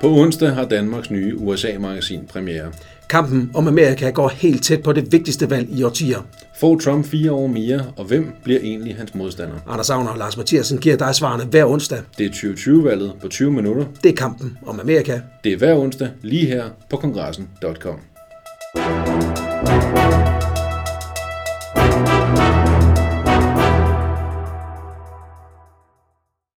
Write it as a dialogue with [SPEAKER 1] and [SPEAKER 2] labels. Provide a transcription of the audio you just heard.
[SPEAKER 1] På onsdag har Danmarks nye USA-magasin premiere.
[SPEAKER 2] Kampen om Amerika går helt tæt på det vigtigste valg i årtier.
[SPEAKER 1] Får Trump fire år mere, og hvem bliver egentlig hans modstander?
[SPEAKER 2] Anders Agner og Lars Mathiasen giver dig svarene hver onsdag.
[SPEAKER 1] Det er 2020-valget på 20 minutter.
[SPEAKER 2] Det er kampen om Amerika.
[SPEAKER 1] Det er hver onsdag lige her på kongressen.com.